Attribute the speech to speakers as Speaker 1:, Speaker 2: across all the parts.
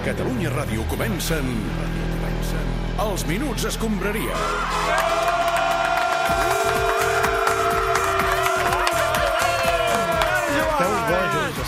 Speaker 1: Catalunya Ràdio comencen... Els Minuts Escombraria.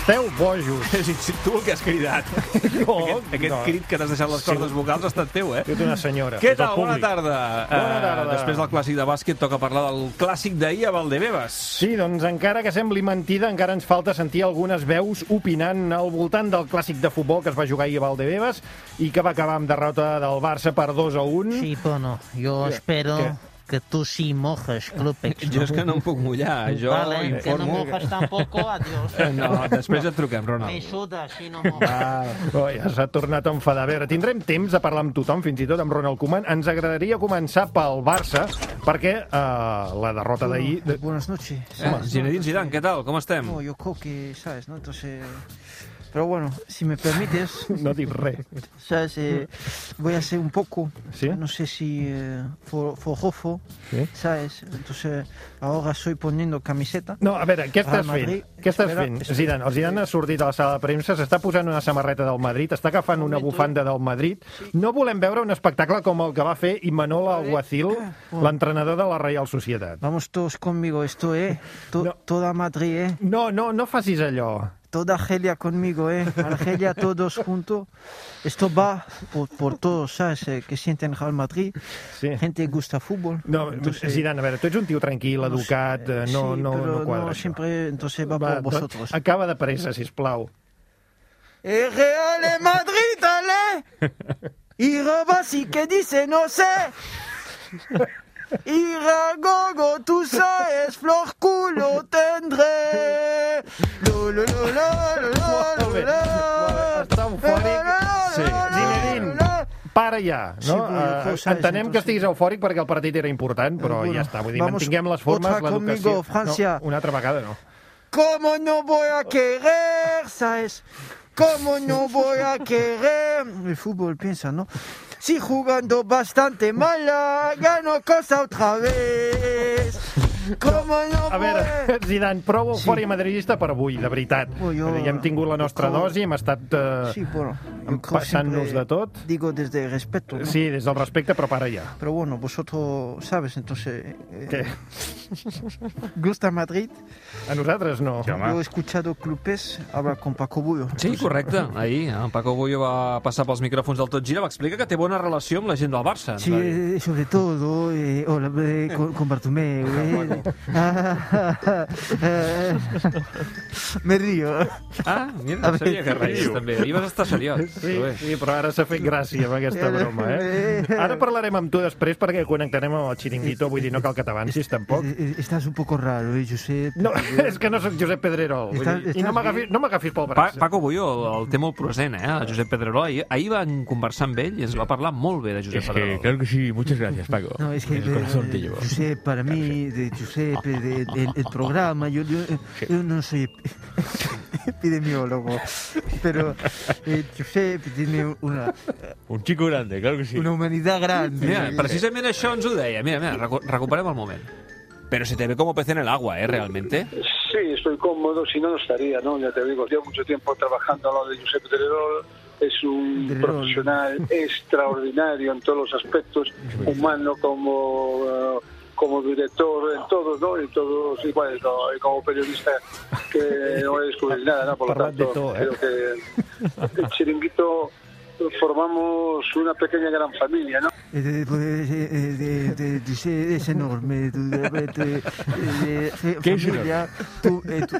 Speaker 2: Esteu bojos, esteu bojos.
Speaker 3: És a dir, tu el que has cridat.
Speaker 2: No,
Speaker 3: aquest aquest
Speaker 2: no.
Speaker 3: crit que t'has deixat les cordes vocals ha estat teu, eh?
Speaker 2: Jo d'una senyora.
Speaker 3: Què
Speaker 2: és el
Speaker 3: tal? Bona
Speaker 2: públic.
Speaker 3: tarda.
Speaker 2: Bona
Speaker 3: Eh,
Speaker 2: tarda.
Speaker 3: després del clàssic de bàsquet toca parlar del clàssic d'ahir a Valdebebas.
Speaker 2: Sí, doncs encara que sembli mentida, encara ens falta sentir algunes veus opinant al voltant del clàssic de futbol que es va jugar ahir a Valdebebas i que va acabar amb derrota del Barça per 2 a 1.
Speaker 4: Sí, bueno, yo espero
Speaker 2: ¿qué?
Speaker 4: que tú sí mojes, Clupex.
Speaker 3: Jo és que no em puc mullar. Jo
Speaker 4: vale, que no
Speaker 3: informo...
Speaker 4: mojas tampoco, adiós.
Speaker 3: no, després et truquem,
Speaker 4: Me
Speaker 3: Ronald.
Speaker 4: suda si no mojas.
Speaker 2: Ah, oh, ja s'ha tornat a enfadar. A veure, tindrem temps de parlar amb tothom, fins i tot amb Ronald Koeman. Ens agradaria començar pel Barça, perquè eh, la derrota d'ahir... de-
Speaker 5: Buenas noches.
Speaker 3: Eh, Zinedine Zidane, què tal? Com estem?
Speaker 5: No, yo creo que, ¿sabes? ¿no? Entonces. Pero bueno, si me permites,
Speaker 2: No dic res.
Speaker 5: ¿sabes? Eh, voy a hacer un poco.
Speaker 2: ¿Sí?
Speaker 5: No sé si. Eh, for- forjofo,
Speaker 2: ¿Sí?
Speaker 5: ¿sabes? Entonces, ahora estoy poniendo camiseta.
Speaker 2: No, a veure, què
Speaker 5: Real
Speaker 2: estàs fent?
Speaker 5: Madrid.
Speaker 2: Què estàs
Speaker 5: Espera,
Speaker 2: fent?
Speaker 5: espera.
Speaker 2: Zidane, el Zidane ha sortit a la sala de premsa, s'està posant una samarreta del Madrid, està agafant una bufanda del Madrid. No volem veure un espectacle com el que va fer Imanol Alguacil, l'entrenador de la Reial Societat.
Speaker 5: Ah. Vamos todos conmigo, esto, ¿eh? To-
Speaker 2: No.
Speaker 5: Toda Madrid, ¿eh?
Speaker 2: No, no, no facis allò.
Speaker 5: Toda Argelia conmigo, ¿eh? Argelia todos juntos. Esto va por, por todos, ¿sabes? Eh, que sienten Real Madrid.
Speaker 2: Sí.
Speaker 5: Gente que gusta fútbol.
Speaker 2: No,
Speaker 5: Entonces, eh,
Speaker 2: Zidane, a veure, tu ets un tio tranquil, educat, eh, no,
Speaker 5: sí,
Speaker 2: no,
Speaker 5: pero
Speaker 2: no quadra.
Speaker 5: no
Speaker 2: això.
Speaker 5: siempre, entonces va,
Speaker 2: Va,
Speaker 5: por
Speaker 2: doncs,
Speaker 5: vosotros.
Speaker 2: acaba de pressa, sisplau.
Speaker 5: El Real es Madrid, dale. Y Robasi que dice no sé. Y Ragogo, tú sabes, flor culo tendré. Lo, lo, lo, lo, lo, lo,
Speaker 2: Molt bé.
Speaker 5: lo, lo.
Speaker 2: Està eufòric.
Speaker 5: Lo, lo, lo,
Speaker 3: Sí.
Speaker 5: lo, lo, lo,
Speaker 2: Zinedine.
Speaker 5: lo.
Speaker 2: Para ja, no?
Speaker 5: Sí, però jo
Speaker 2: Eh,
Speaker 5: ho sabia,
Speaker 2: entenem que
Speaker 5: entonces.
Speaker 2: estiguis eufòric perquè el partit era important, però
Speaker 5: Bueno,
Speaker 2: ja està, vull dir,
Speaker 5: vamos,
Speaker 2: mantinguem les formes,
Speaker 5: otra
Speaker 2: l'educació...
Speaker 5: conmigo, Francia.
Speaker 2: No, una altra vegada no.
Speaker 5: ¿Cómo no voy a querer, sabes? ¿Cómo no voy a querer? El fútbol piensa, ¿no? Si jugando bastante mala, gano cosa otra vez. ¿Cómo no
Speaker 2: A
Speaker 5: voy
Speaker 2: veure,
Speaker 5: a...
Speaker 2: Zidane, prou eufòria madridista per avui, de veritat.
Speaker 5: Ui, jo-
Speaker 2: Ja hem tingut la nostra
Speaker 5: Com-
Speaker 2: dosi, hem estat eh,
Speaker 5: Sí, bueno, yo creo
Speaker 2: pasant-nos
Speaker 5: siempre
Speaker 2: de tot.
Speaker 5: Digo desde el respeto, ¿no?
Speaker 2: Sí, des del respecte, però para ja.
Speaker 5: Pero bueno, vosotros sabes, entonces... eh,
Speaker 2: Què?
Speaker 5: ¿Gusta Madrid?
Speaker 2: A nosaltres no.
Speaker 5: Yo he escuchado Clupes hablar con Paco Bullo.
Speaker 3: Sí, correcte. Ahir eh, en Paco Bullo va passar pels micròfons del Tot Gira, va explicar que té bona relació amb la gent del Barça. ens
Speaker 5: Sí,
Speaker 3: va dir.
Speaker 5: eh, sobre todo eh, hola, eh, con, con Bartomeu. eh. Ah, ah, ah, ah. Me río.
Speaker 3: Ah, mira, sabia que reies, també. Ahir vas estar seriós.
Speaker 2: Sí,
Speaker 3: Joder.
Speaker 2: sí, però ara s'ha fet gràcia amb aquesta broma, eh? Ara parlarem amb tu després perquè connectarem amb el xiringuito, vull dir, no cal que t'avancis tampoc.
Speaker 5: Eh, eh, Estás un poco raro, eh, Josep.
Speaker 2: No, és que no sóc Josep Pedrerol. Vull
Speaker 5: Estàs-
Speaker 2: dir, I
Speaker 5: estàs
Speaker 2: no m'agafis no m'agafis pel
Speaker 3: Pa
Speaker 2: braç.
Speaker 3: Paco Bullo el, el té molt present, eh, el Josep Pedrerol. Ahir, ahir van conversar amb ell i ens va parlar molt bé de Josep
Speaker 6: Es que,
Speaker 3: Pedrerol.
Speaker 6: claro que sí, muchas gracias, Paco.
Speaker 5: No, es que
Speaker 6: el corazón te
Speaker 5: eh,
Speaker 6: llevo.
Speaker 5: Josep, para mí, de Josep, eh, de- del- el programa, yo, yo, eh, yo no soy ep- epidemiólogo, pero eh, Josep tiene una, eh,
Speaker 6: Un chico grande, claro que sí.
Speaker 5: una humanidad grande.
Speaker 3: Mira, precisament això ens ho deia. Mira, mira, recu recuperem el moment. Pero se te ve como pez en el agua, ¿eh? Realmente.
Speaker 7: Sí, estoy cómodo, si no, no estaría, ¿no? Ya te digo, llevo mucho tiempo trabajando al lado de Giuseppe Telerol, es un
Speaker 5: Telerol.
Speaker 7: profesional extraordinario en todos los aspectos, humano como, eh, como director, en todos, ¿no? En todos iguales, ¿no? Y como periodista que no he descubierto nada, ¿no? Por lo
Speaker 2: Parlad de
Speaker 7: tanto,
Speaker 2: todo, ¿eh?
Speaker 7: creo que el chiringuito formamos una pequeña gran familia, ¿no?
Speaker 5: Eh, de- pues, eh, eh, de- de- de- de- es enorme. tu- de- de- de- de- de-
Speaker 6: ¿Qué es
Speaker 5: familia, tu, eh, tu,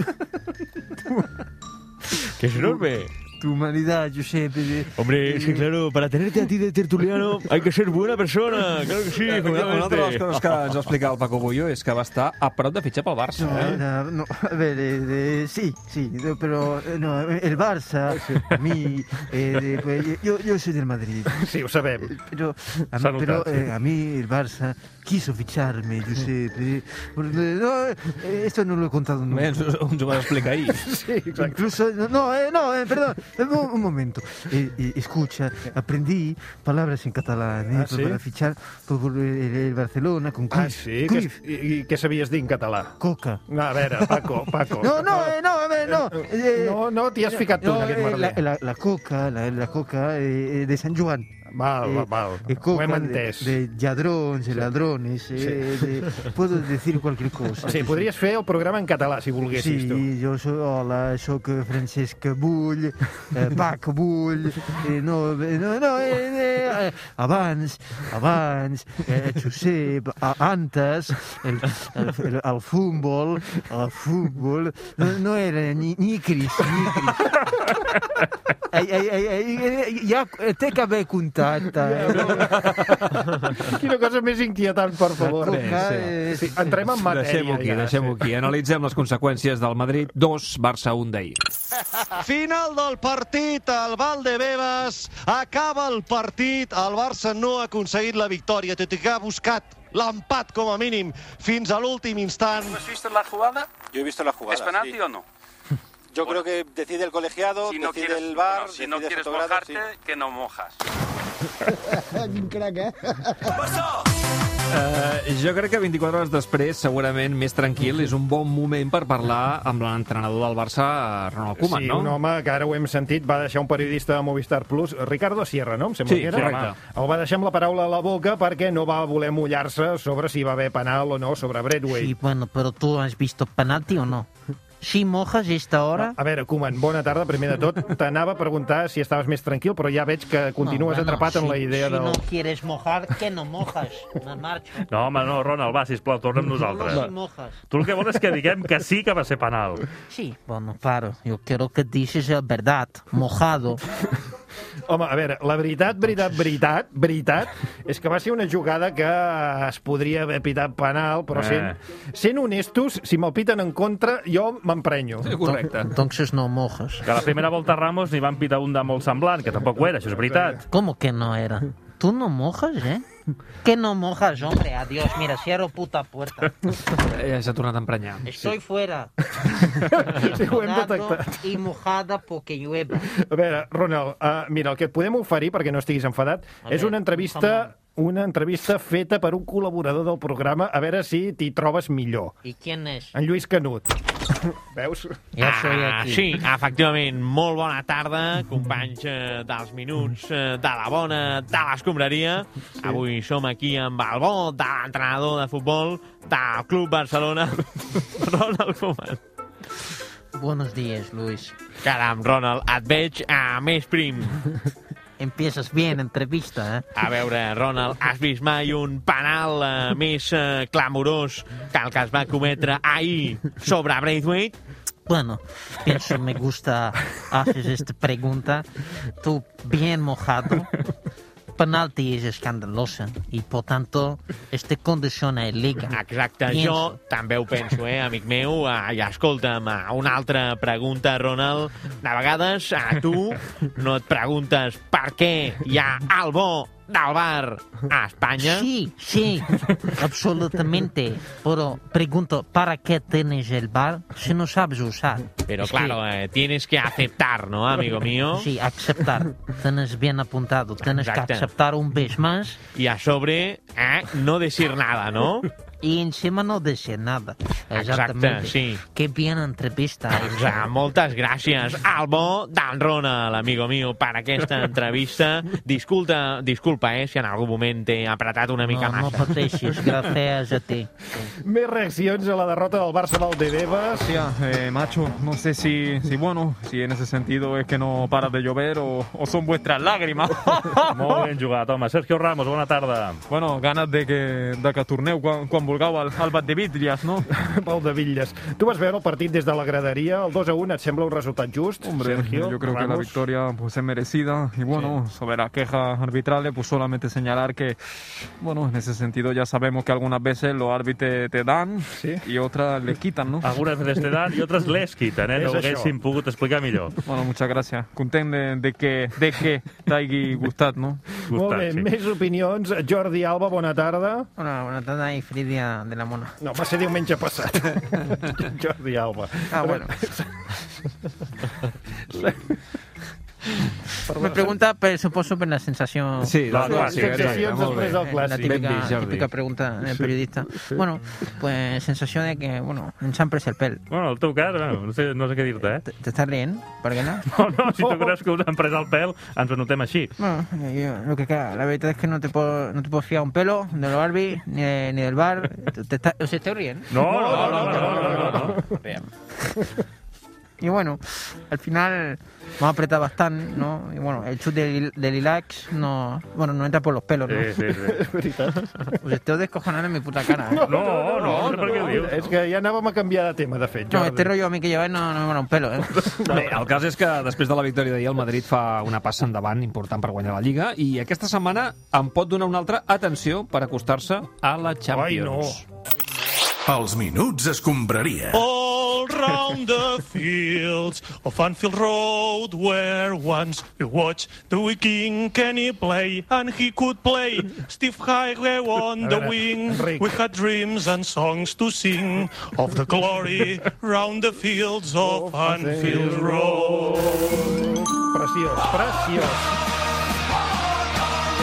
Speaker 6: ¡Que es enorme!
Speaker 5: tu humanidad, Giuseppe. de-
Speaker 6: Hombre, es que claro, para tenerte a ti de tertuliano hay que ser buena persona. Claro que sí,
Speaker 3: Una altra de les
Speaker 6: seguramente.
Speaker 3: coses que ens va explicar el Paco Bullo és que va estar a prop de fitxar pel Barça. eh?
Speaker 5: No, la- no, a ver, eh, de- sí, sí, de- pero eh, no, el Barça, a mí, eh, de- pues, yo, yo soy del Madrid,
Speaker 2: Sí, ho sabem.
Speaker 5: pero, Eh, a,
Speaker 2: S'ha
Speaker 5: mí-
Speaker 2: notat,
Speaker 5: pero eh, a mí el Barça quiso ficharme, Giuseppe. porque, no, eh, esto no lo he contado
Speaker 3: Bé,
Speaker 5: nunca.
Speaker 3: ens, ho- ens ho vas explicar ahir.
Speaker 2: Sí, exacte.
Speaker 5: Incluso, no, no, eh, no, eh, perdón, eh, un, un momento. Eh, eh, escucha, aprendí palabras en catalán eh,
Speaker 2: Ah, ¿sí?
Speaker 5: para fichar por, por el, el Barcelona con Cruyff.
Speaker 2: Ah, sí? Què,
Speaker 5: Cruyff,
Speaker 2: i, I què sabies dir en català?
Speaker 5: Coca.
Speaker 2: No, a veure, Paco, Paco.
Speaker 5: No, no, eh, no, a ver, no. eh,
Speaker 2: No, no t'hi has ficat tu, en aquest
Speaker 5: eh,
Speaker 2: merder.
Speaker 5: la, la, la coca, la, la coca eh, eh, de Sant Joan.
Speaker 2: Val,
Speaker 5: Eh,
Speaker 2: val,
Speaker 5: eh,
Speaker 2: ho
Speaker 5: coca
Speaker 2: hem
Speaker 5: de-
Speaker 2: entès.
Speaker 5: De, ladrones, de ladrones. eh, de- puedo decir cualquier cosa.
Speaker 2: Sí, podries fer el programa en català, si volguessis,
Speaker 5: Sí,
Speaker 2: tu.
Speaker 5: jo soc, hola, sóc Francesc Bull, eh, Pac Bull, eh, no, eh, no, no, eh, eh, eh, abans, abans, eh, Josep, a, antes, el, el, el, el futbol, el futbol, no, no era ni, ni Cris, ni Cris. Ai, ai, ai, ai, eh, ja eh, té que haver contacte. Eh?
Speaker 2: Quina cosa més inquietant, per favor.
Speaker 5: La coca
Speaker 6: eh.
Speaker 5: és-
Speaker 2: Sí, entrem en matèria.
Speaker 3: Deixem-ho aquí,
Speaker 2: ja.
Speaker 3: deixem-ho aquí. Analitzem les conseqüències del Madrid 2, Barça 1 d'ahir.
Speaker 8: Final del partit al Valdebebas. Acaba el partit. El Barça no ha aconseguit la victòria, tot i que ha buscat l'empat com a mínim fins a l'últim instant.
Speaker 9: ¿Has visto la jugada?
Speaker 10: Yo he visto la jugada.
Speaker 9: ¿Es penalti
Speaker 10: sí.
Speaker 9: o no?
Speaker 10: Yo creo que decide el colegiado,
Speaker 9: Si no
Speaker 10: decide
Speaker 9: quieres,
Speaker 10: el bar,
Speaker 9: bueno, si no
Speaker 10: decide
Speaker 9: quieres
Speaker 10: Fotogrado,
Speaker 9: mojarte,
Speaker 10: sí.
Speaker 9: que no mojas.
Speaker 3: Eh, jo crec que 24 hores després, segurament més tranquil, és un bon moment per parlar amb l'entrenador del Barça, eh, Ronald Koeman,
Speaker 2: sí,
Speaker 3: no?
Speaker 2: un home que ara ho hem sentit va deixar un periodista de Movistar Plus, Ricardo Sierra, no? Em sembla
Speaker 3: Sí,
Speaker 2: que era.
Speaker 3: correcte.
Speaker 2: El va deixar amb la paraula a la boca perquè no va voler mullar-se sobre si va haver penal o no sobre Bradway.
Speaker 4: Sí, bueno, pero tú has visto penalti o no? Si mojas esta hora...
Speaker 2: A veure, Koeman, bona tarda, primer de tot. T'anava a preguntar si estaves més tranquil, però ja veig que continues
Speaker 4: No, bueno,
Speaker 2: atrapat en
Speaker 4: si-
Speaker 2: la idea
Speaker 4: si
Speaker 2: del...
Speaker 4: no quieres mojar, que no mojas. Me marxo.
Speaker 11: No, home, no, Ronald, va, sisplau, torna amb nosaltres.
Speaker 4: No si mojas.
Speaker 11: Tu el que vols és que diguem que sí que va ser penal.
Speaker 4: Sí, bueno, claro, yo quiero que dices la verdad. Mojado.
Speaker 2: Home, a veure, la veritat, veritat, veritat, veritat, és que va ser una jugada que es podria haver pitat penal, però sent, sent honestos, si me'l piten en contra, jo m'emprenyo.
Speaker 3: Correcte.
Speaker 4: Entonces no mojas.
Speaker 11: Que a la primera volta a Ramos n'hi van pitar un de molt semblant, que tampoc ho era, això és veritat.
Speaker 4: ¿Cómo que no era? Tú no mojas, ¿eh? Que no mojas, hombre. Adiós. Mira, cierro puta puerta.
Speaker 3: Eh, S'ha tornat a emprenyar.
Speaker 4: Estoy fuera.
Speaker 2: Sí, ho hem
Speaker 4: Mojado
Speaker 2: detectat.
Speaker 4: Y mojada porque llueve.
Speaker 2: A veure, Ronald, uh, mira, el que et podem oferir, perquè no estiguis enfadat,
Speaker 4: A
Speaker 2: és
Speaker 4: veure,
Speaker 2: una entrevista una entrevista feta per un col·laborador del programa, a veure si t'hi trobes millor.
Speaker 4: ¿Y quién es?
Speaker 2: En Lluís Canut. Veus?
Speaker 4: Ya soy
Speaker 6: Ah,
Speaker 4: aquí.
Speaker 6: sí, efectivament. Molt bona tarda, companys eh, dels minuts, eh, de la bona, de l'escombraria. Avui som aquí amb el bo de l'entrenador de futbol del Club Barcelona, Ronald Koeman.
Speaker 4: Buenos días, Luis.
Speaker 6: Caram, Ronald, et veig a més prim.
Speaker 4: Empiezas bien entrevista, ¿eh?
Speaker 6: A veure, Ronald, has vist mai un penal eh, més eh, clamorós que el que es va cometre ahir sobre Braithwaite?
Speaker 4: Bueno, pienso me gusta haces esta pregunta. Tú bien mojado. Penalti es escandalosa y por tanto este condiciona el liga.
Speaker 6: Exacte,
Speaker 4: Pienso.
Speaker 6: jo també ho penso, eh, amic meu. Eh, I escolta'm, eh, una altra pregunta, Ronald. De vegades a tu no et preguntes per què hi ha el bo del bar a Espanya?
Speaker 4: Sí, sí, absolutamente. Pero pregunto, ¿para qué tienes el bar si no sabes usar?
Speaker 6: Però,
Speaker 4: Es que-
Speaker 6: claro, eh, tienes que aceptar, ¿no, amigo mío?
Speaker 4: Sí, aceptar. Tienes bien apuntado. Tienes
Speaker 6: Exacto.
Speaker 4: que aceptar un vez más
Speaker 6: I a sobre, eh, no decir nada, ¿no?
Speaker 4: y encima no decir nada.
Speaker 6: Exacto,
Speaker 4: Exactamente.
Speaker 6: sí.
Speaker 4: Qué bien entrevista.
Speaker 6: Doncs eh, moltes gràcies al bo d'en Ronald, amigo mío, per aquesta entrevista. Disculpa, disculpa eh, si en algun moment t'he apretat una mica
Speaker 4: No, no
Speaker 6: massa.
Speaker 4: pateixis, gràcies a ti.
Speaker 2: Més reaccions a la derrota del Barça del Debebas.
Speaker 8: eh, macho, no sé si, si, bueno, si en ese sentido es que no para de llover o, o son vuestras lágrimas.
Speaker 11: Molt ben jugat, home. Sergio Ramos, bona tarda.
Speaker 8: bueno, ganas de que, de que torneu quan, quan vulgueu al, al bat de vidrias, no?
Speaker 2: Pau de Villas. Tu vas veure el partit des de la graderia, el 2 a 1 et sembla un resultat just,
Speaker 8: Hombre,
Speaker 2: Sergio?
Speaker 8: yo creo que la
Speaker 2: Ramos?
Speaker 8: victoria pues, es merecida y bueno, sobre las quejas arbitrales, pues solamente señalar que, bueno, en ese sentido ya sabemos que algunas veces los árbitros te dan y otras le quitan, ¿no?
Speaker 11: Algunes veces te dan i altres les quiten, eh?
Speaker 2: És
Speaker 11: No ho
Speaker 2: això.
Speaker 11: haguéssim pogut explicar millor.
Speaker 8: Bueno, muchas gracias. Content de, de que, de que t'hagi gustat, no?
Speaker 2: Molt
Speaker 11: Gustat,
Speaker 2: bé,
Speaker 11: sí.
Speaker 2: més opinions. Jordi Alba, bona tarda.
Speaker 5: Hola, buenas tardes, y feliz día de la mona.
Speaker 2: No, va ser diumenge passat. Jordi
Speaker 4: Ah,
Speaker 2: Alba.
Speaker 5: Ah, bueno.
Speaker 4: Me pregunta, per, suposo, per la sensació...
Speaker 3: Sí, la clàssica,
Speaker 2: exacte, Sensacions molt bé. després del
Speaker 4: La
Speaker 2: clàssic.
Speaker 4: típica,
Speaker 2: Ben vist, Jordi.
Speaker 4: típica pregunta del periodista. Bueno, pues sensació de que, bueno, ens han pres el pèl.
Speaker 11: Bueno, el teu cas, bueno, no, sé, no sé què dir-te, eh?
Speaker 4: T'estàs rient? Per què no?
Speaker 11: No, no, si tu creus que us han pres el pèl, ens ho notem així.
Speaker 4: Bueno, yo, lo que queda, la verdad es que no te puedo, no te puedo fiar un pelo de los Barbie, ni, de- ni del bar. Te- Te está, os estoy riendo.
Speaker 11: No, no, no, no, no, no, no.
Speaker 4: Y bueno, al final me ha apretado bastante, ¿no? Y bueno, el chute del, del Ilax no, bueno, no entra por los pelos, ¿no?
Speaker 11: Sí, sí, sí.
Speaker 4: Os estoy descojonando en mi puta cara. ¿eh?
Speaker 11: No, no, no, no, no sé per què ho dius.
Speaker 2: És que ja anàvem a canviar de tema, de fet,
Speaker 4: No,
Speaker 2: Jordi.
Speaker 4: este rollo a mí que lleváis no, no me mola un pelo, ¿eh?
Speaker 3: Bé, el cas és que després de la victòria d'ahir el Madrid fa una passa endavant important per guanyar la Lliga i aquesta setmana en pot donar una altra atenció per acostar-se a la Champions. Ai,
Speaker 1: Els minuts escombraria.
Speaker 12: All round the fields of Anfield Road, where once you watched the King, can he play? And he could play Steve Highway on the
Speaker 13: veure,
Speaker 12: wing.
Speaker 13: Enric.
Speaker 12: We had dreams and songs to sing of the glory round the fields of Anfield Road.
Speaker 2: Preciós, preciós.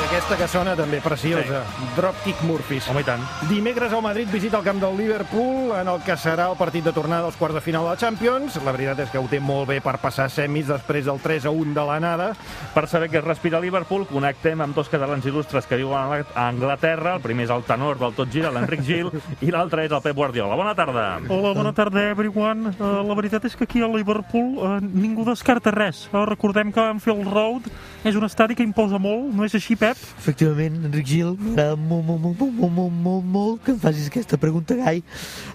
Speaker 2: I aquesta que sona també, preciosa. Sí. Dropkick Murphys. Home, i tant. Dimecres el Madrid visita el camp del Liverpool en el que serà el partit de tornada als quarts de final de la Champions. La veritat és que ho té molt bé per passar a semis després del 3 a 1 de l'anada.
Speaker 11: Per saber què respira Liverpool, connectem amb dos catalans il·lustres que viuen a la- a Anglaterra. El primer és el tenor del Tot Gira, l'Enric Gil, i l'altre és el Pep Guardiola. Bona tarda.
Speaker 13: Hola, bona tarda, everyone. Uh, la veritat és que aquí a Liverpool uh, ningú descarta res. Uh, recordem que Anfield Road és un estadi que imposa molt, no és així, Pep?
Speaker 14: Efectivament, Enric Gil, m'agrada molt, molt, molt, molt, molt, molt, molt, molt que em facis aquesta pregunta, Gai.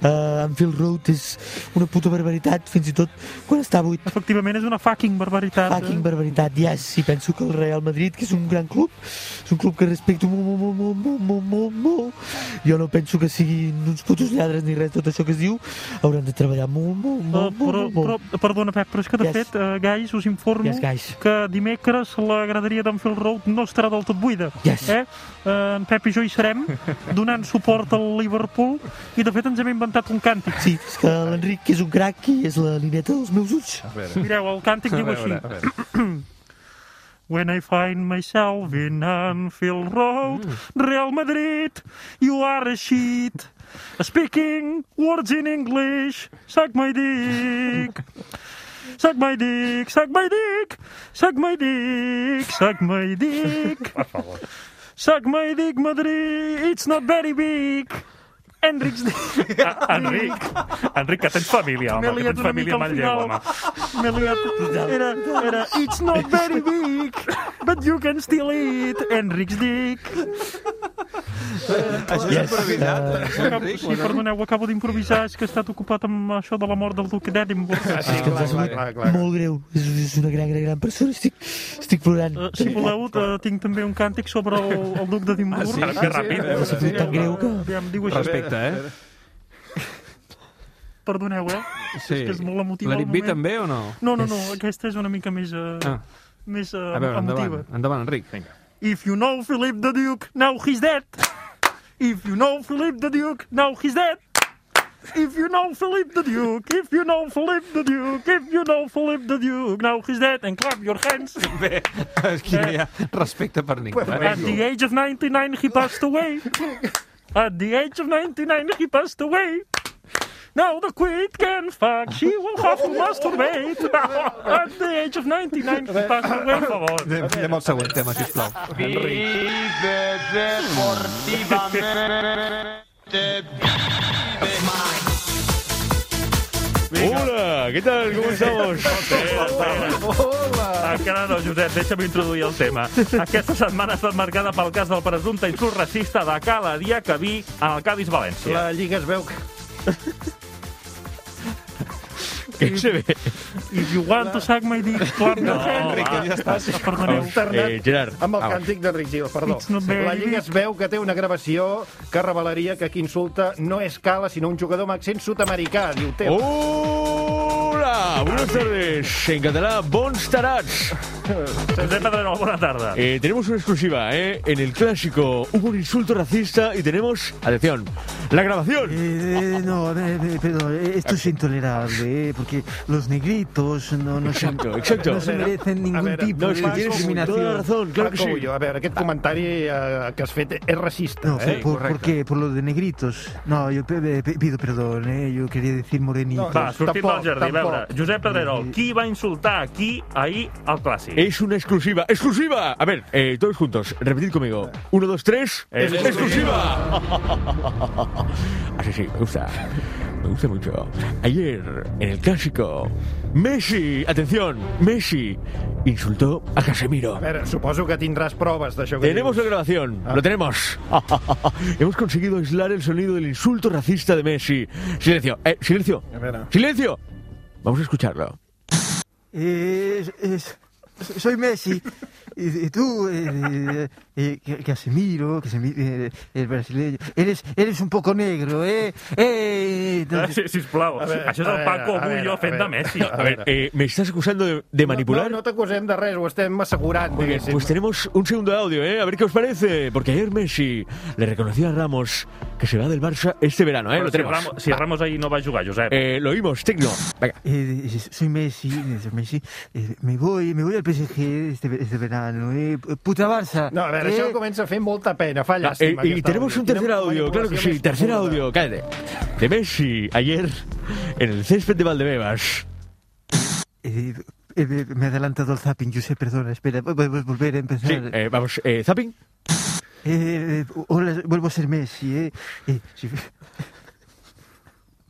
Speaker 14: Uh, Anfield Road és una puta barbaritat, fins i tot quan està buit.
Speaker 13: Efectivament, és una fucking barbaritat. eh?
Speaker 14: Fucking barbaritat, ja, yes. i penso que el Real Madrid, que és un gran club, és un club que respecto molt, molt, molt, molt, molt, molt, molt, molt. Jo no penso que siguin uns putos lladres ni res, tot això que es diu, hauran de treballar molt, molt,
Speaker 13: Uh,
Speaker 14: molt,
Speaker 13: però,
Speaker 14: molt, molt.
Speaker 13: però, perdona, Pep, però és que, de yes. fet, uh, Gais, us informo
Speaker 14: Yes, Gais.
Speaker 13: que dimecres la graderia d'Anfield Road no estarà del tot buida.
Speaker 14: Yes.
Speaker 13: Eh? Uh, en Pep i jo hi serem, donant suport al Liverpool, i, de fet, ens hem inventat un càntic.
Speaker 14: Sí, és que l'Enric és un crac i és la lineta dels meus ulls.
Speaker 13: Mireu, el càntic diu així. When I find myself in Anfield Road, Real Madrid, you are a sheet. Speaking words in English, suck my dick. Suck my dick, suck my dick, suck my dick, suck my dick.
Speaker 11: Per favor.
Speaker 13: Suck my dick, Madrid, it's not very big. Enric's dick.
Speaker 11: Enric, Enric, que tens família,
Speaker 13: M'he
Speaker 11: home, que
Speaker 13: liat
Speaker 11: tens
Speaker 13: una mica
Speaker 11: família a
Speaker 13: al
Speaker 11: Manlleu, home.
Speaker 13: final. M'he liat. Era, era, it's not very big, but you can still eat Enric's dick.
Speaker 15: Eh, Això és improvisat, eh? això, Enric,
Speaker 13: Sí,
Speaker 15: o no?
Speaker 13: Eh, perdoneu, ho acabo d'improvisar, és que he estat ocupat amb això de la mort del duc d'Edimburg.
Speaker 14: Ah, sí, és que ens ha sigut molt greu. És, és una gran, gran, gran persona. Estic, estic plorant.
Speaker 13: Eh, Si voleu, eh, tinc també un càntic sobre el, el duc d'Edimburg.
Speaker 14: Ah, sí? Caram, que ràpid.
Speaker 13: Eh,
Speaker 14: Sí, tan greu que-
Speaker 13: Ja em diu això.
Speaker 3: Respecte, eh?
Speaker 13: Perdoneu, eh?
Speaker 3: Sí.
Speaker 13: És que és molt emotiu.
Speaker 3: Let
Speaker 13: el
Speaker 3: it be
Speaker 13: moment.
Speaker 3: també o no?
Speaker 13: No, no, no, aquesta és una mica més... Eh,
Speaker 3: Ah.
Speaker 13: Més eh,
Speaker 3: A veure,
Speaker 13: emotiva.
Speaker 3: endavant, endavant Enric. Vinga.
Speaker 13: If you know Philip the Duke, now he's dead. If you know Philip the Duke, now he's dead. If you know Philip the Duke, if you know Philip the Duke, if you know Philip the Duke, now he's dead. And clap your hands.
Speaker 3: Bé, és que no hi ha respecte per ningú. eh?
Speaker 13: At the age of 99, he passed away. At the age of 99, he passed away. Now the queen can fuck, she will have to masturbate. At the age of 99, he passed away.
Speaker 3: Per favor. Anem al següent tema, sisplau.
Speaker 15: Vive deportivamente.
Speaker 11: Hola, què tal? Com estamos? Hola. Encara no, Josep, deixa'm introduir el tema. Aquesta setmana ha estat marcada pel cas del presumpte insult racista de Cala Diacabí en el Cádiz València.
Speaker 2: La Lliga es veu que...
Speaker 11: Que se ve.
Speaker 13: If you want to suck my dick, clap your hands. Perdoneu.
Speaker 2: Alternat
Speaker 13: Gerard,
Speaker 2: amb el
Speaker 13: au.
Speaker 2: càntic d'Enric Gil, perdó.
Speaker 13: It's not very
Speaker 2: La Lliga es veu que té una gravació que revelaria que qui insulta no és Cala, sinó un jugador amb accent sud-americà, diu Tebas.
Speaker 15: Hola,
Speaker 16: Hola, buenas tardes. En catalá, bons tarats.
Speaker 11: Josep Pedrerol, buena tarde.
Speaker 16: Eh, tenemos una exclusiva, ¿eh? En el clásico hubo un insulto racista y tenemos, atención, la grabación.
Speaker 5: Eh, eh, no, eh, eh, pero eh, esto es intolerable, eh, porque los negritos no, no, se-
Speaker 16: Exacto, exacto.
Speaker 5: no se merecen ningún tipo de discriminación.
Speaker 2: Paco Ullo, a veure, aquest comentari eh, que has fet és racista.
Speaker 5: No,
Speaker 2: eh?
Speaker 5: por, ¿por qué? Por lo de negritos. No, yo pe- pe- pe- pido perdón, eh, yo quería decir morenitos.
Speaker 11: Va, sortim del jardí, a veure. Josep
Speaker 2: Mm.
Speaker 11: Pedrerol, qui va insultar aquí ahir al clàssic?
Speaker 16: Es una exclusiva, exclusiva. A ver, eh, todos juntos, repetid conmigo. Uno, dos, tres.
Speaker 11: Es
Speaker 16: exclusiva. Así Ah, sí, me gusta. Me gusta mucho. Ayer, en el clásico, Messi, atención, Messi insultó a Casemiro.
Speaker 2: A veure, suposo que tindràs proves d'això que
Speaker 16: Eh,
Speaker 2: Ah.
Speaker 16: Tenemos la grabación, lo tenemos. Hemos conseguido aislar el sonido del insulto racista de Messi. Silencio, eh, silencio. Silencio. Vamos a escucharlo.
Speaker 5: Eh, es- es- soy Messi. Y, y tú, eh, eh, eh, Casemiro, Casemiro eh, el brasileño, eres, eres un poco negro, ¿eh? eh
Speaker 11: Ah, sí, sisplau,
Speaker 2: A veure,
Speaker 11: això és
Speaker 2: a
Speaker 11: el
Speaker 2: veure,
Speaker 11: Paco
Speaker 2: a veure,
Speaker 11: Bullo
Speaker 2: a
Speaker 11: fent de
Speaker 2: veure.
Speaker 11: Messi.
Speaker 16: No, a ver, eh, ¿me estás acusando de, de manipular?
Speaker 2: No, no t'acusem de res, ho estem assegurant,
Speaker 16: Muy bien,
Speaker 2: diguéssim.
Speaker 16: pues tenemos un segundo de audio, ¿eh? A ver qué os parece. Porque ayer Messi le reconoció a Ramos que se va del Barça este verano, ¿eh?
Speaker 11: Però
Speaker 16: Lo
Speaker 11: si,
Speaker 16: tenemos.
Speaker 11: Ramos, si Ramos ahir no va jugar, Josep.
Speaker 16: Eh, lo oímos, Tecno. Venga.
Speaker 5: Eh, eh, soy Messi, eh, soy Messi. eh, me voy, me voy al PSG este, ve- este verano, eh. Puta Barça.
Speaker 2: No, a veure,
Speaker 5: eh.
Speaker 2: això comença a fer molta pena, fa
Speaker 16: Ah, eh,
Speaker 2: llàstima.
Speaker 16: y tenemos un tercer audio, claro que sí, tercer audio, cállate. De Messi, ayer en el césped de Valdebebas.
Speaker 5: Eh, eh, eh, me he adelantado el zapping, yo sé, perdona, espera, vo- vo- volver a empezar.
Speaker 16: Sí, eh, vamos, eh, zapping.
Speaker 5: Eh, eh, hola, vuelvo a ser Messi, ¿eh? Eh, si, fu-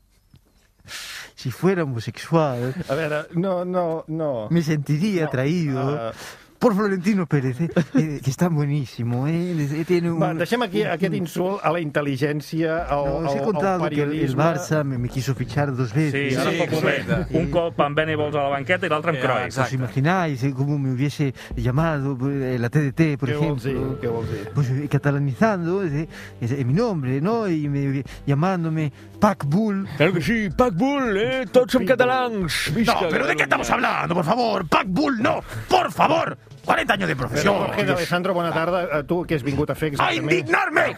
Speaker 5: si fuera homosexual,
Speaker 2: A veure, no, no, no.
Speaker 5: me sentiría
Speaker 2: No,
Speaker 5: atraído
Speaker 2: ah.
Speaker 5: por Florentino Pérez, eh, eh, que está buenísimo, ¿eh? Eh, Tiene un,
Speaker 2: Va, deixem aquí aquest insult a la intel·ligència, al,
Speaker 5: Os he
Speaker 2: al, al
Speaker 5: contado que el, el
Speaker 2: periodisme...
Speaker 5: Barça me, me quiso fichar dos
Speaker 11: Sí,
Speaker 5: veces.
Speaker 11: ara fa poc. Un cop amb Venables a la banqueta i l'altre amb Cruyff.
Speaker 5: ¿Os imagináis eh, cómo me hubiese llamado eh, la TDT, por
Speaker 2: Qué
Speaker 5: ejemplo?
Speaker 2: bolsí, qué bolsí.
Speaker 5: Pues eh, catalanizando eh, eh, mi nombre, ¿no? Y me, hubie- llamándome Pac Bull.
Speaker 16: Claro que sí, Pac Bull, ¿eh? Tots som catalans. Visca
Speaker 17: No, pero ¿de qué estamos
Speaker 16: Catalunya.
Speaker 17: hablando? Por favor, Pac Bull, no, por favor. 40 años de
Speaker 2: Però,
Speaker 17: profesión.
Speaker 2: Jorge de Alessandro, bona tarda. A tu què has vingut a fer
Speaker 17: ¡A
Speaker 2: exactament?
Speaker 17: indignarme!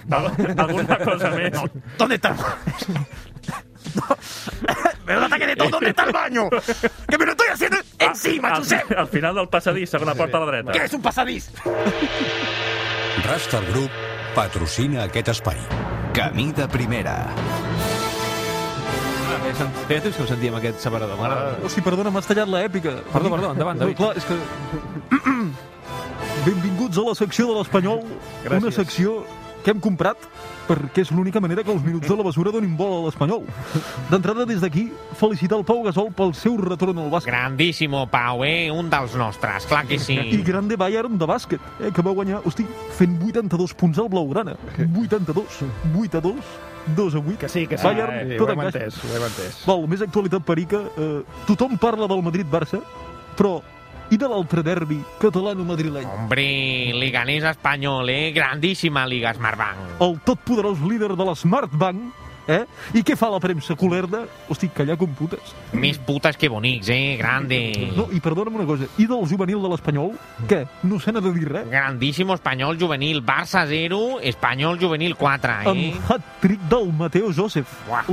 Speaker 11: ¿Alguna cosa más?
Speaker 17: ¿Dónde está? Me da un
Speaker 16: Eh,
Speaker 17: ataque de todo. ¿Dónde está el baño? ¡Que me lo estoy haciendo encima,
Speaker 11: Ah, al,
Speaker 17: Josep!
Speaker 11: al final del passadís, segona porta a la dreta.
Speaker 17: ¿Qué es un pasadís?
Speaker 18: Rastar Group patrocina aquest espai. Camí de primera.
Speaker 3: Ah, bé, sent- Feia temps que em sentíem aquest separador, mare.
Speaker 2: Ah.
Speaker 19: O sigui, perdona, m'has tallat l'èpica.
Speaker 3: Perdó, perdó, endavant, David.
Speaker 19: No, clar, és que... Benvinguts a la secció de l'Espanyol. Una secció que hem comprat perquè és l'única manera que els minuts de la basura donin bola a l'Espanyol. D'entrada, des d'aquí, felicitar el Pau Gasol pel seu retorn al bàsquet.
Speaker 6: Grandíssimo, Pau, eh? Un dels nostres, clar que
Speaker 19: I
Speaker 6: sí.
Speaker 19: Grande Bayern de bàsquet, eh, que va guanyar, hosti, fent 82 punts al Blaugrana. 82, 8 a 2, 2 a 8. Que
Speaker 2: sí, que sí.
Speaker 19: Bayern,
Speaker 2: Ah, eh,
Speaker 19: tot
Speaker 2: ho
Speaker 19: en
Speaker 2: hem
Speaker 19: caixa.
Speaker 2: entès, ho hem entès.
Speaker 19: Val, més actualitat perica. Eh, tothom parla del Madrid-Barça, però i de l'altre derbi catalano-madrileny?
Speaker 6: Hombre, Liganés espanyol, eh? Grandíssima Liga Smartbank.
Speaker 19: El totpoderós líder de la Smartbank, eh? I què fa la premsa culerda? Hosti, callar com putes.
Speaker 6: Més putes que bonics, eh? Grande.
Speaker 19: No, i perdona'm una cosa, i del juvenil de l'Espanyol? Què? No se n'ha de dir res?
Speaker 6: Grandíssimo espanyol juvenil. Barça 0, espanyol juvenil 4, eh?
Speaker 19: Amb hat-trick del Mateo Josef,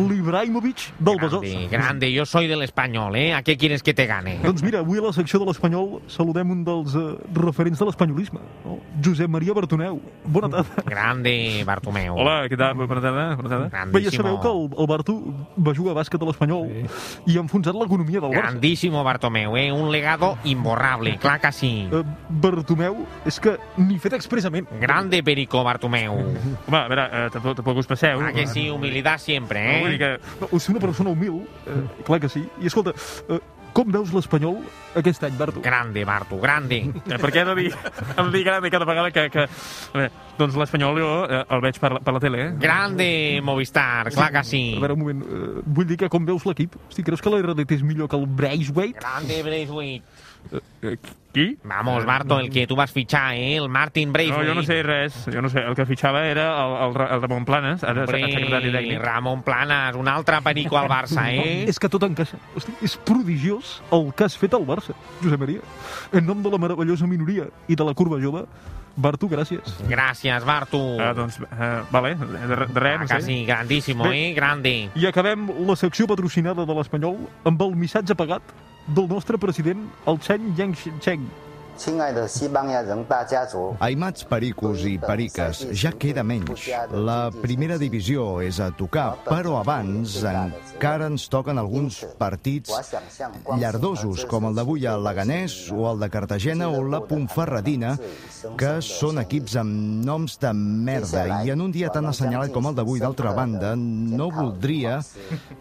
Speaker 19: l'Ibrahimovic del Besòs.
Speaker 6: Grande, yo soy del espanyol, eh? ¿A qué quieres que te gane?
Speaker 19: Doncs mira, avui a la secció de l'Espanyol saludem un dels eh, referents de l'espanyolisme, no? Josep Maria Bartoneu. Bona tarda.
Speaker 6: Grande, Bartomeu.
Speaker 19: Hola,
Speaker 11: què tal? Bona tarda. Bona tarda.
Speaker 19: Bé, ja sabeu que el, el Bartu va jugar a bàsquet a l'Espanyol i ha enfonsat l'economia del Barça.
Speaker 6: Grandísimo Bartomeu, eh? Un legado imborrable, clar que sí.
Speaker 19: Eh, Bartomeu, és que ni fet expressament.
Speaker 6: Grande Perico Bartomeu.
Speaker 11: Home, a veure, eh, tampoc, tampoc us passeu.
Speaker 6: Ah, que sí, humilitat sempre,
Speaker 19: Ah,
Speaker 6: eh?
Speaker 11: No, vull dir que...
Speaker 19: No, o sigui, una persona humil, eh, clar que sí. I escolta, eh, com veus l'Espanyol aquest any, Bartu?
Speaker 6: Grande, Bartu, grande.
Speaker 11: Eh, per què he de dir, em dir grande cada vegada que... que... A veure, doncs l'Espanyol jo eh, el veig per, la- per la tele, eh?
Speaker 6: Grande Movistar, clar que sí.
Speaker 19: A veure, un moment, eh, vull dir que com veus l'equip? Hosti, creus que la RDT és millor que el Braithwaite?
Speaker 6: Grande Braithwaite.
Speaker 19: Eh, eh,
Speaker 11: Qui?
Speaker 6: Vamos, Barto, el que tu vas fitxar, eh? El Martin
Speaker 11: No,
Speaker 6: Braithwaite.
Speaker 11: jo no sé res. Jo no sé. El que fitxava era el, el, Ra- el Ramon Planes, ara Hombre, secretari
Speaker 6: Hombre,
Speaker 11: tècnic.
Speaker 6: Ramon Planas, un altre perico al Barça, eh?
Speaker 19: És que tot encaixa. Hosti, és prodigiós el que has fet al Barça, Josep Maria. En nom de la meravellosa minoria i de la curva jove, Bartu, gràcies.
Speaker 6: Gràcies, Bartu.
Speaker 11: Ah, doncs, eh, vale, de, de res,
Speaker 6: Ah,
Speaker 11: no
Speaker 6: que
Speaker 11: sé.
Speaker 6: sí, grandíssimo,
Speaker 19: Bé.
Speaker 6: eh? Grande.
Speaker 19: I acabem la secció patrocinada de l'Espanyol amb el missatge pagat del nostre president, el Chen Yangcheng.
Speaker 20: 亲爱的西班牙人大家族，
Speaker 21: Aimats pericos i periques ja queda menys. La primera divisió és a tocar, però abans encara ens toquen alguns partits llardosos, com el d'avui a Leganés o el de Cartagena o la Ponferradina, que són equips amb noms de merda. I en un dia tan assenyalat com el d'avui, d'altra banda, no voldria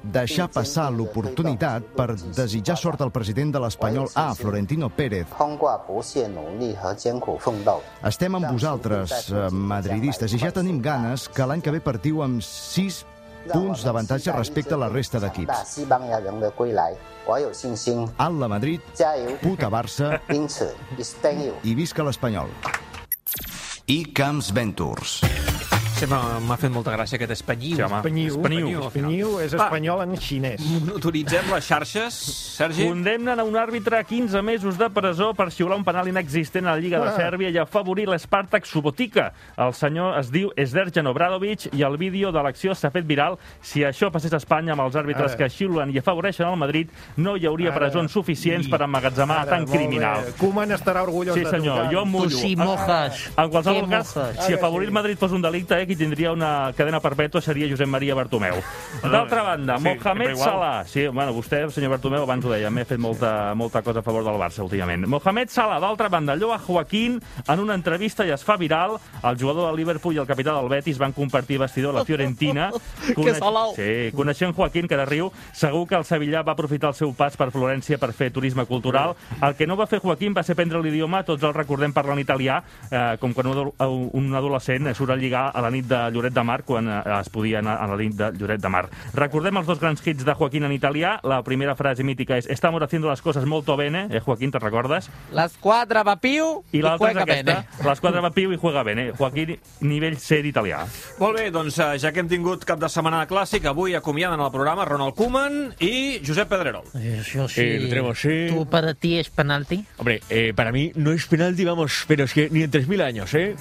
Speaker 21: deixar passar l'oportunitat per desitjar sort al president de l'Espanyol A, Florentino Pérez,
Speaker 20: 通过不懈努力和艰苦奋斗，
Speaker 21: Estem amb vosaltres, eh, madridistes, i ja tenim ganes que l'any que ve partiu amb 6 punts d'avantatge respecte a la resta
Speaker 20: 大
Speaker 21: d'equips.
Speaker 20: 西班牙人的归来，我有信心。
Speaker 21: Alla Madrid,
Speaker 20: 加油，
Speaker 21: puta Barça
Speaker 20: 因此，stand you。
Speaker 21: i visca l'Espanyol.
Speaker 18: I Camps Ventures.
Speaker 3: Sempre m'ha fet molta gràcia aquest espanyiu.
Speaker 16: Ah,
Speaker 2: Sí, home. Espanyiu. Espanyiu, espanyiu és espanyol en xinès.
Speaker 3: Monitoritzem les xarxes, Sergi.
Speaker 11: Condemnen a un àrbitre a 15 mesos de presó per xiular un penal inexistent a la Lliga de
Speaker 2: Ah.
Speaker 11: Sèrbia i afavorir l'Spartak Subotica. El senyor es diu Esderjan Obradovic i el vídeo de l'acció s'ha fet viral. Si això passés a Espanya amb els àrbitres
Speaker 2: Ara.
Speaker 11: que xiulen i afavoreixen el Madrid, no hi hauria
Speaker 2: Ara.
Speaker 11: presons suficients
Speaker 2: I-
Speaker 11: per emmagatzemar
Speaker 2: Ara,
Speaker 11: tant
Speaker 2: molt
Speaker 11: criminal.
Speaker 2: bé. Koeman estarà orgullós
Speaker 11: Sí,
Speaker 2: de
Speaker 11: senyor,
Speaker 2: tu.
Speaker 11: jo em mullo. En- En qualsevol cas, si afavorir el Madrid fos un delicte, eh, qui tindria una cadena perpètua seria Josep Maria Bartomeu. D'altra banda,
Speaker 12: Sí,
Speaker 11: Mohamed
Speaker 12: sempre igual.
Speaker 11: Salah. Sí, bueno, vostè, senyor Bartomeu, abans ho deia, m'he fet molta, molta cosa a favor del Barça últimament. Mohamed Salah, d'altra banda, lloa Joaquín en una entrevista i es fa viral. El jugador del Liverpool i el capità del Betis van compartir vestidor a la Fiorentina.
Speaker 19: Que salau.
Speaker 11: Sí, coneixent Joaquín, que de riu, segur que el Sevillà va aprofitar el seu pas per Florència per fer turisme cultural. El que no va fer Joaquín va ser prendre l'idioma, tots el recordem parlant italià, eh, com quan un adol- un adolescent surt a lligar a la nit de Lloret de Mar, quan eh, es podia anar a la nit de Lloret de Mar. Recordem els dos grans hits de Joaquín en italià. La primera frase mítica és «Estamos haciendo las cosas molto bene». Eh, Joaquín, te recordes?
Speaker 22: L'esquadra va piu i,
Speaker 11: I l'altra és
Speaker 22: juega
Speaker 11: aquesta.
Speaker 22: bene.
Speaker 11: L'esquadra va piu i juega bene. Joaquín, nivell C d'italià.
Speaker 3: Molt bé, doncs eh, ja que hem tingut cap de setmana de clàssic, avui acomiaden el programa Ronald Koeman i Josep Pedrerol.
Speaker 4: Yo sí.
Speaker 3: Eh, lo tenemos, sí.
Speaker 4: ¿Tú para ti es penalti?
Speaker 16: Hombre, eh, para mí no es penalti, vamos, pero es que ni en 3.000 años, ¿eh?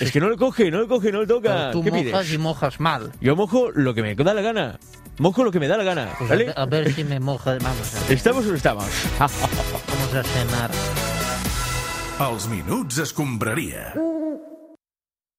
Speaker 16: es que no le coge, no le coge, no le toca.
Speaker 4: Pero tú
Speaker 16: ¿Qué
Speaker 4: mojas
Speaker 16: pides?
Speaker 4: y mojas mal.
Speaker 16: Yo mojo lo que me da la gana. Mojo lo que me da la gana,
Speaker 4: Pues a
Speaker 16: ¿vale?
Speaker 4: ver- a, ver si me moja. Vamos a,
Speaker 16: ¿Estamos o no estamos?
Speaker 4: vamos a cenar.
Speaker 1: Els minuts escombraria.